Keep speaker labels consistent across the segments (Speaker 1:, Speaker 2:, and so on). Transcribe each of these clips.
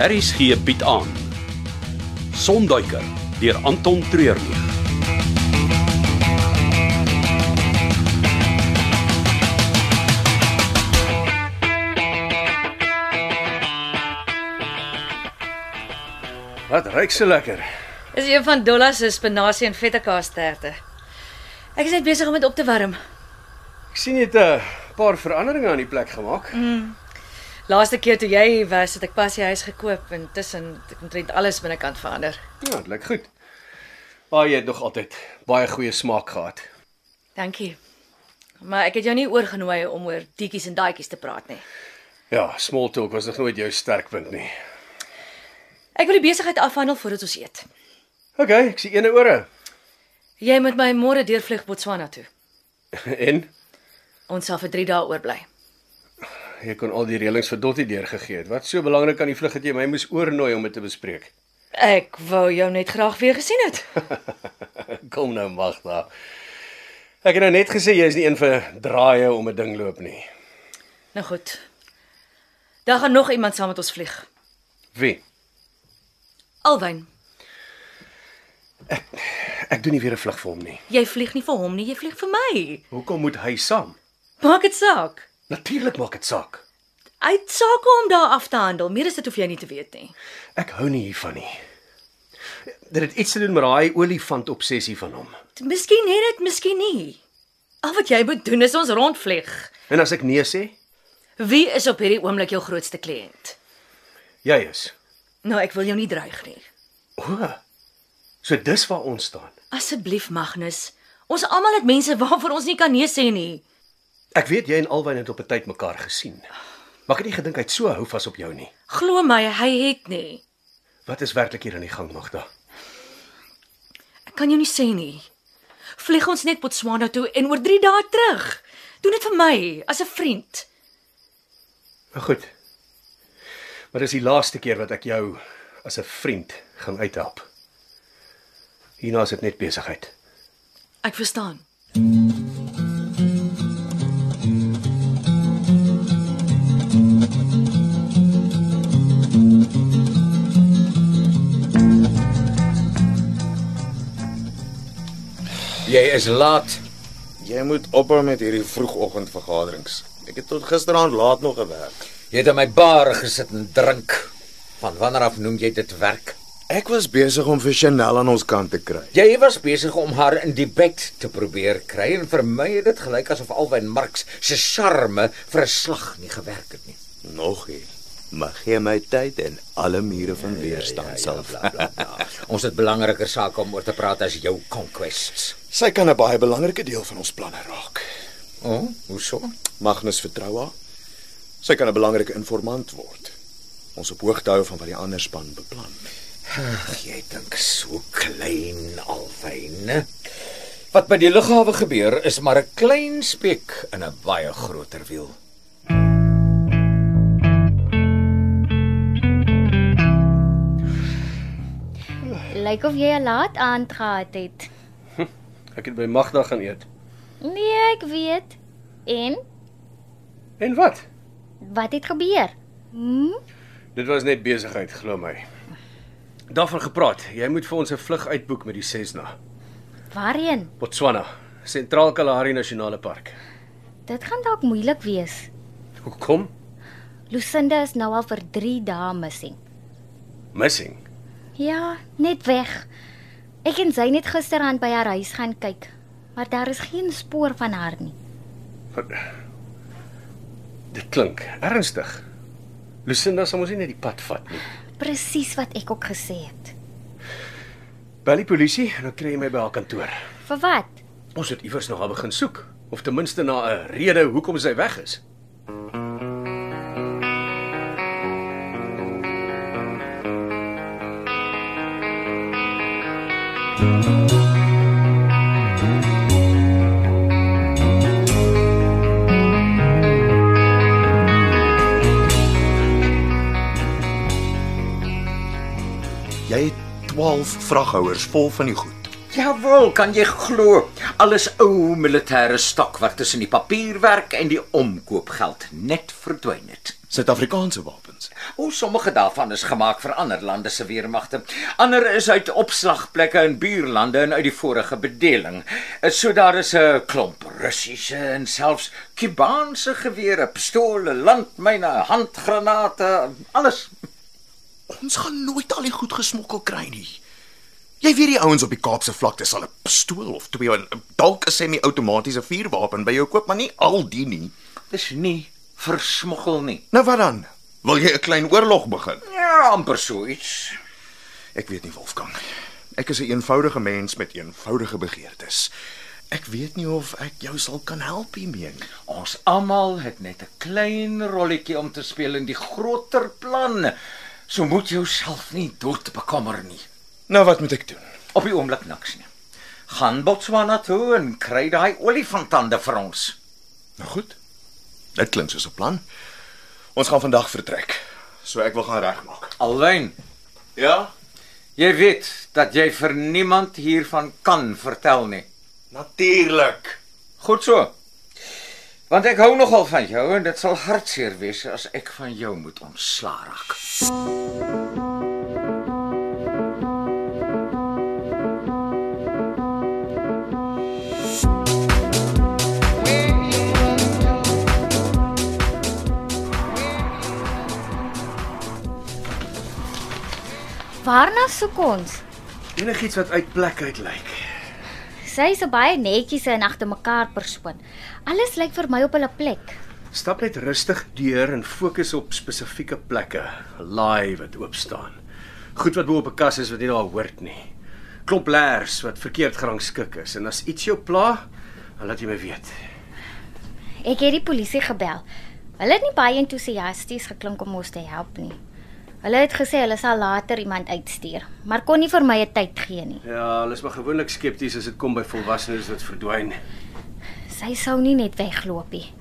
Speaker 1: RSG bied aan Sonduiker deur Anton Treurnig.
Speaker 2: Wat ruik so lekker.
Speaker 3: Dis een van Dolla se spinasie en vettekaastertte. Ek is net besig om dit op te warm.
Speaker 2: Ek sien jy het 'n paar veranderinge aan die plek gemaak.
Speaker 3: Mm. Laaste keer toe jy hier was, het ek pas die huis gekoop en tussen het ek omtrent alles binnekant verander.
Speaker 2: Ja, dit lyk goed. Maar jy het nog altyd baie goeie smaak gehad.
Speaker 3: Dankie. Maar ek het jou nie oorgenooi om oor dieetjies en daadjies te praat nie.
Speaker 2: Ja, small talk was nog nooit jou sterkpunt nie.
Speaker 3: Ek wil die besigheid afhandel voordat ons eet.
Speaker 2: OK, ek sien ene ore.
Speaker 3: Jy moet my môre deurvlieg Botswana toe.
Speaker 2: en
Speaker 3: Ons sal vir 3 dae oorbly.
Speaker 2: jy kon al die reëlings vir Dottie deurgegee het. Wat so belangrik aan die vlug het jy my moes oornooi om dit te bespreek.
Speaker 3: Ek wou jou net graag weer gesien het.
Speaker 2: Kom nou, Magda. Ek het nou net gesê jy is nie een vir draaie om 'n ding loop nie.
Speaker 3: Nou goed. Daar gaan nog iemand saam met ons vlieg.
Speaker 2: Wie?
Speaker 3: Alwyn,
Speaker 2: Ek doen nie weer 'n vlug vir hom nie.
Speaker 3: jy vlieg nie vir hom nie, jy vlieg vir my.
Speaker 2: Hoekom moet hy saam?
Speaker 3: Maak dit saak.
Speaker 2: Natuurlik maak dit saak.
Speaker 3: Uit sake om daar af te handel. Meer as dit hoef jy nie te weet nie.
Speaker 2: Ek hou nie hiervan nie. Dit het iets te doen met daai olifant obsessie van hom.
Speaker 3: T- Miskien het dit, miskien nie. Al wat jy moet doen is ons rondvlieg.
Speaker 2: En as ek nee sê,
Speaker 3: Wie is op hierdie oomblik jou grootste kliënt?
Speaker 2: jy is.
Speaker 3: Nou ek wil jou nie dreig nie.
Speaker 2: O. So dis waar ons staan.
Speaker 3: Asseblief Magnus, ons almal het mense waarvoor ons nie kan nee sê nie.
Speaker 2: Ek weet jy en Alwyn het op 'n tyd mekaar gesien. Maar ek het nie gedink hy't so hou vas op jou nie.
Speaker 3: Glo my, hy het nie.
Speaker 2: Wat is werklik hier aan die gang, Magda?
Speaker 3: Ek kan jou nie sê nie. Vlieg ons net Botswana toe en oor 3 dae terug. Doen dit vir my as 'n vriend.
Speaker 2: Nou goed. Maar dis die laaste keer wat ek jou as 'n vriend gaan uithelp. Hierna is dit net besigheid.
Speaker 3: Ek verstaan.
Speaker 4: Jy is laat.
Speaker 5: Jy moet ophou met hierdie vroegoggendvergaderings. Ek het tot gisteraand laat nog gewerk.
Speaker 4: Jy het aan my bar gesit en drink. Van wanneer af noem jy dit werk?
Speaker 5: Ek was besig om vir Chanel aan ons kant te kry.
Speaker 4: Jy was besig om haar in die bed te probeer kry en vir my het dit gelyk asof Alwyn Marx se charme vir 'n slag nie gewerk het nie.
Speaker 5: Nog nie. Maar gee my tyd en alle mure van weerstand sal
Speaker 4: Bla bla bla. Ons het belangriker sake om oor te praat as jou conquests.
Speaker 5: Sy kan 'n baie belangrike deel van ons planne raak.
Speaker 4: O, oh, hoeso?
Speaker 5: Magnus vertrou haar. Sy kan 'n belangrike informant word. Ons op hoogte hou van wat die ander span beplan.
Speaker 4: Ag, jy dink so klein Alwyn. Wat by die lughawe gebeur is maar 'n klein spek in 'n baie groter wiel.
Speaker 6: Lyk of jy 'n laat aand gehad het.
Speaker 2: Ek het by Magda gaan eet.
Speaker 6: Nee, ek weet. En
Speaker 2: En wat?
Speaker 6: wat het gebeur? Hm?
Speaker 2: Dit was net besigheid, glo my. Daarvan gepraat, jy moet vir ons 'n vlug uitboek met die Cessna.
Speaker 6: Waarheen?
Speaker 2: Botswana, Sentraal Kalahari Nasionale Park.
Speaker 6: Dit gaan dalk moeilik wees.
Speaker 2: Hoekom?
Speaker 6: Lucinda is nou al vir 3 dae missing.
Speaker 2: Missing.
Speaker 6: Ja, net weg. Ek en sy net gisterand by haar huis gaan kyk, maar daar is geen spoor van haar nie.
Speaker 2: Wat? Dit klink ernstig. Lucinda sal mos nie net die pad vat nie.
Speaker 6: Presies wat ek ook gesê het.
Speaker 2: Bel die polisie en dan kry jy my by haar kantoor.
Speaker 6: Vir wat?
Speaker 2: Ons het iewers na haar begin soek, of ten minste na 'n rede hoekom sy weg is.
Speaker 5: Jy het 12 vraghouers vol van die goed.
Speaker 4: Jawohl, kan jy glo? Alles ou militêre stok wat tussen die papierwerk en die omkoopgeld net verdwyn het.
Speaker 5: Suid-Afrikaanse wapens.
Speaker 4: O, sommige daarvan is gemaak vir ander lande se weermagte. Ander is uit opslagplekke in buurlande en uit die vorige bedeling. Eh, So daar is 'n klomp Russiese en selfs Kubaanse gewere, pistole, landmyne, handgranate, alles.
Speaker 5: Ons gaan nooit al die goed gesmokkel kry nie. Jy weet die ouens op die Kaapse vlakte sal 'n pistool of twee en dalk 'n semi-outomatiese vuurwapen by jou koop, maar nie al die nie.
Speaker 4: Dis nie versmoggel nie.
Speaker 5: Nou wat dan? Wil jy 'n klein oorlog begin?
Speaker 4: Ja, amper so iets.
Speaker 5: Ek weet nie Wolfgang. Ek is 'n een eenvoudige mens met eenvoudige begeertes. Ek weet nie of ek jou sal kan help hiermee nie.
Speaker 4: Ons almal het net 'n klein rolletjie om te speel in die groter plan. So moet jouself nie dood bekommer nie.
Speaker 5: Nou wat moet ek doen?
Speaker 4: Op die oomblik niks nie. Gaan Botswana toe en kry daai olifanttande vir ons.
Speaker 5: Nou goed. Dit klink soos 'n plan. Ons gaan vandag vertrek. So ek wil gaan regmaak.
Speaker 4: Alwyn,
Speaker 5: Ja?
Speaker 4: jy weet dat jy vir niemand hiervan kan vertel nie.
Speaker 5: Natuurlik.
Speaker 4: Goed so. Want ek hou nogal van jou en dit sal hartseer wees as ek van jou moet ontslaa raak.
Speaker 6: Waarna soek ons?
Speaker 2: Enigiets wat uit plek uit lyk.
Speaker 6: Sy's 'n baie netjiese en agter mekaar persoon. Alles lyk vir my op hulle plek.
Speaker 2: Stap net rustig deur en fokus op spesifieke plekke, laai wat oop staan. Goed wat bo op 'n kas is wat nie daar hoort nie. Klop leers wat verkeerd gerangskik is en as iets jou pla, dan laat jy my weet.
Speaker 6: Ek het die polisie gebel. Hulle het nie baie entoesiasties geklink om ons te help nie. Hulle het gesê hulle sal later iemand uitstuur, maar kon nie vir my 'n tyd gee nie.
Speaker 2: Ja, hulle is maar gewoonlik skepties as dit kom by volwassenes wat verdwyn.
Speaker 6: Sy sou nie net wegloop nie.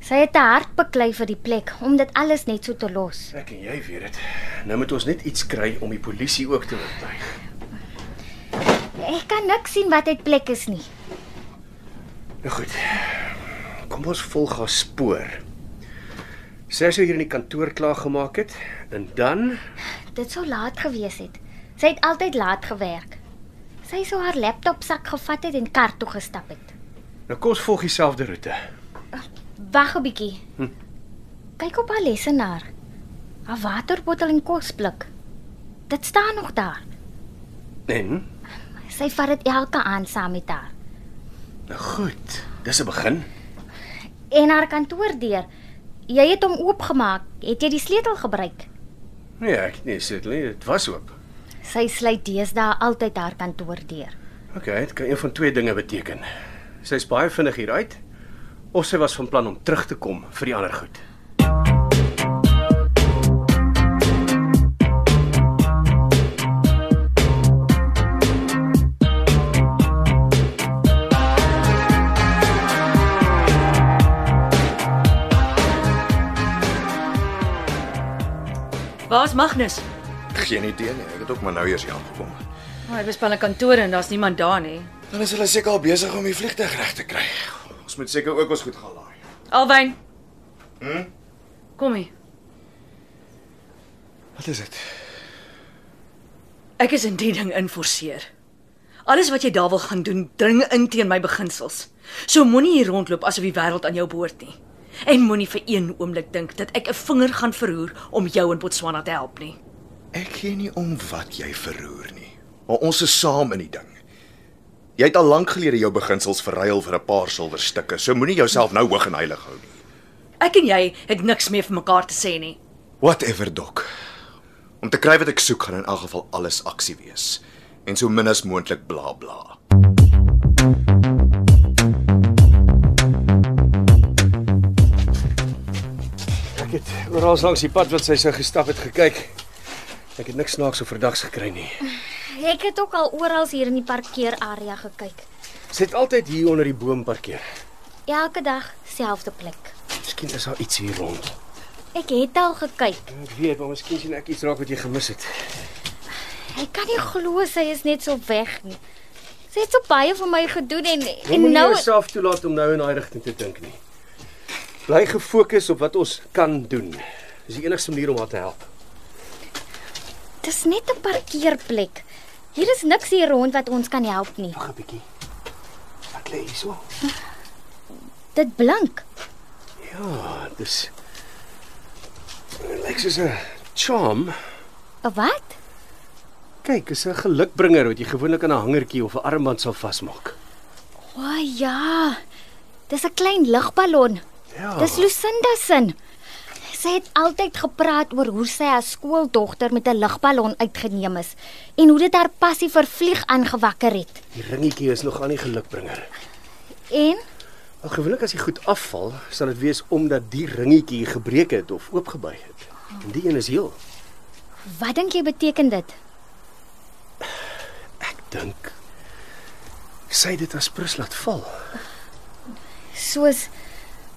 Speaker 6: Sy het te hard beklei vir die plek om dit alles net so te los.
Speaker 2: Ek en jy weet dit. Nou moet ons net iets kry om die polisie ook te oortuig.
Speaker 6: Ek kan niks sien wat uit plek is nie.
Speaker 2: Nou goed. Kom ons volg haar spoor. Sy sou hier in die kantoor klaar gemaak het en dan
Speaker 6: Dit sou laat gewees het. Sy het altyd laat gewerk. Sy sou haar laptopsak gevat het en kar toe gestap het.
Speaker 2: nou kom ons volg dieselfde roete.
Speaker 6: Wag 'n bietjie. Hm. Kyk op haar lesenaar. Haar waterbottel en kosblik. Dit staan nog daar.
Speaker 2: En
Speaker 6: Sy vat dit elke aand saam met haar.
Speaker 2: nou goed, dis 'n begin.
Speaker 6: En haar kantoordeur. Jy het hom oopgemaak. Het jy die sleutel gebruik?
Speaker 2: Nee, ek het nie seker nie, dit was oop.
Speaker 6: Sy sluit deesdae altyd haar kantoordeur.
Speaker 2: OK, dit kan een van twee dinge beteken. Sy's baie vinnig hier uit of sy was van plan om terug te kom vir die ander goed.
Speaker 3: Waar's Magnus?
Speaker 5: Geen idee nie. Ek het ook maar nou eers hier aangekom.
Speaker 3: Oh, hy was by 'n kantoor en daar's niemand daar nie.
Speaker 5: Dan is hulle seker al besig om die vliegtuig reg te kry. Ons moet seker ook ons goed gaan laai.
Speaker 3: Alwyn. Hm? Kom hier.
Speaker 5: Wat is dit?
Speaker 3: Ek is in die ding inforceer. Alles wat jy daar wil gaan doen, dring in teen my beginsels. So moenie hier rondloop asof die wêreld aan jou behoort nie. En moenie vir een oomblik dink dat ek 'n vinger gaan verroer om jou in Botswana te help nie.
Speaker 5: Ek gee nie om wat jy verroer nie. Maar ons is saam in die ding. Jy het al lank gelede jou beginsels verruil vir 'n paar silwerstukke. So moenie jouself nou hoog en heilig hou nie.
Speaker 3: Ek en jy het niks meer vir mekaar te sê nie.
Speaker 5: Whatever, Doc. Om te kry wat ek soek gaan in elk geval alles aksie wees en so min as moontlik bla bla.
Speaker 2: Ek het oral langs die pad wat sy sou gestap het gekyk. Ek het niks snaaks of verdags gekry nie.
Speaker 6: Ek het ook al oral hier in die parkeerarea gekyk.
Speaker 2: Sy het altyd hier onder die boom parkeer.
Speaker 6: Elke dag selfde plek.
Speaker 2: Miskien is daar iets hier rond.
Speaker 6: Ek het al gekyk.
Speaker 2: Ek weet, maar miskien sien ek iets raak wat jy gemis het.
Speaker 6: Ek kan nie glo sy is net so weg nie. Sy het so baie vir my gedoen en en
Speaker 2: Moenie nou...
Speaker 6: nou
Speaker 2: jouself toelaat om nou in daai rigting te dink nie. Bly gefokus op wat ons kan doen. Dis die enigste manier om haar te help.
Speaker 6: Dis net 'n parkeerplek. Hier is niks hier rond wat ons kan help nie.
Speaker 2: Wag 'n bietjie. Wat lê hierso?
Speaker 6: Dit blink.
Speaker 2: Ja, dis Lex is 'n charm.
Speaker 6: 'n Wat?
Speaker 2: Kyk, is 'n gelukbringer wat jy gewoonlik aan 'n hangertjie of 'n armband sal vasmaak.
Speaker 6: O oh, ja. Dis 'n klein lugballon.
Speaker 2: Ja.
Speaker 6: Dis Lucinda se. Sy het altyd gepraat oor hoe sy as skooldogter met 'n lugballon uitgeneem is en hoe dit haar passie vir vlieg aangewakker het.
Speaker 2: Die ringetjie is nog aan die gelukbringer.
Speaker 6: En
Speaker 2: Wel gewoonlik as die goed afval, sal dit wees omdat die ringetjie gebreek het of oopgebuig het. En die een is heel.
Speaker 6: wat dink jy beteken dit?
Speaker 2: Ek dink sy het dit as prins laat val.
Speaker 6: Soos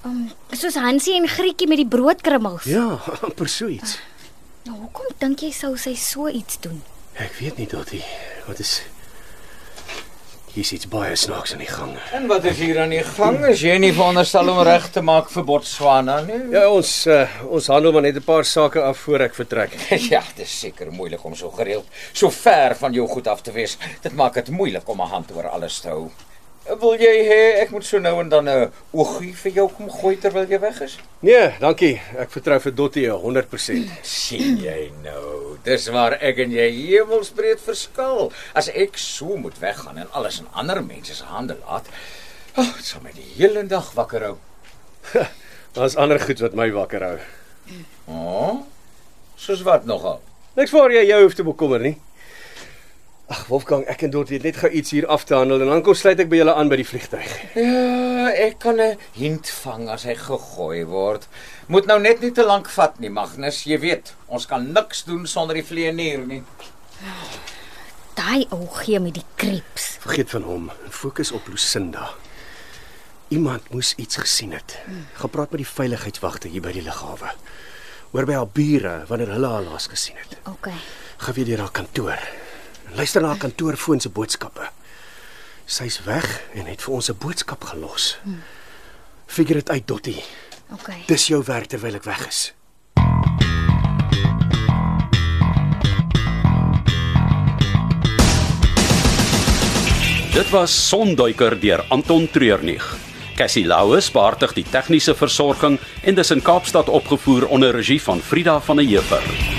Speaker 6: um, soos Hansie en Grietjie met die broodkrummels.
Speaker 2: Ja, amper so iets.
Speaker 6: Nou, hoekom dink jy sou sy so iets doen?
Speaker 2: Ek weet nie tot die wat is Hier is iets baie snaaks aan die gang.
Speaker 4: En wat is hier aan die gang? Is jy nie veronderstel om reg te maak vir Botswana nie?
Speaker 2: Ja, ons uh, ons handel maar net 'n paar sake af voor ek vertrek.
Speaker 4: Ja, dit is seker moeilik om so gereeld so ver van jou goed af te wees. Dit maak dit moeilik om 'n hand oor alles te hou. Wil jy hê ek moet so nou en dan 'n oogie vir jou kom gooi terwyl jy weg is?
Speaker 2: Nee, dankie. Ek vertrou vir Dottie 100%.
Speaker 4: sien jy nou? Dis waar ek en jy hemelsbreed verskil. As ek so moet weggaan en alles in ander mense se hande laat, ag, oh, dit sal my die hele dag wakker hou.
Speaker 2: Daar's ander goed wat my wakker hou.
Speaker 4: O? Oh, soos wat nogal.
Speaker 2: Niks voor jy jou hoef te bekommer nie. Ag, Wolfgang, ek en Dottie het net gou iets hier af te handel en dan kom sluit ek by julle aan by die vliegtyg.
Speaker 4: Ja, ek kan 'n hint vang as hy gegooi word. Moet nou net nie te lank vat nie, Magnus, jy weet, ons kan niks doen sonder die vleienier nie.
Speaker 6: Daai ou gee met die kreeps.
Speaker 2: Vergeet van hom. Fokus op Lucinda. Iemand moes iets gesien het. Gepraat met die veiligheidswagte hier by die lughawe. Hoor by haar bure wanneer hulle haar laas gesien het.
Speaker 6: OK.
Speaker 2: Gaan weer deur haar kantoor. En Luister na haar kantoorfoon se boodskappe. Sy's weg en het vir ons 'n boodskap gelos. Figure dit uit, Dottie.
Speaker 6: OK.
Speaker 2: Dis jou werk terwyl ek weg is.
Speaker 1: Dit was Sonduiker deur Anton Treurnig. Cassie Louws beheerdig die tegniese versorging en dis in Kaapstad opgevoer onder regie van Frida van der Heever.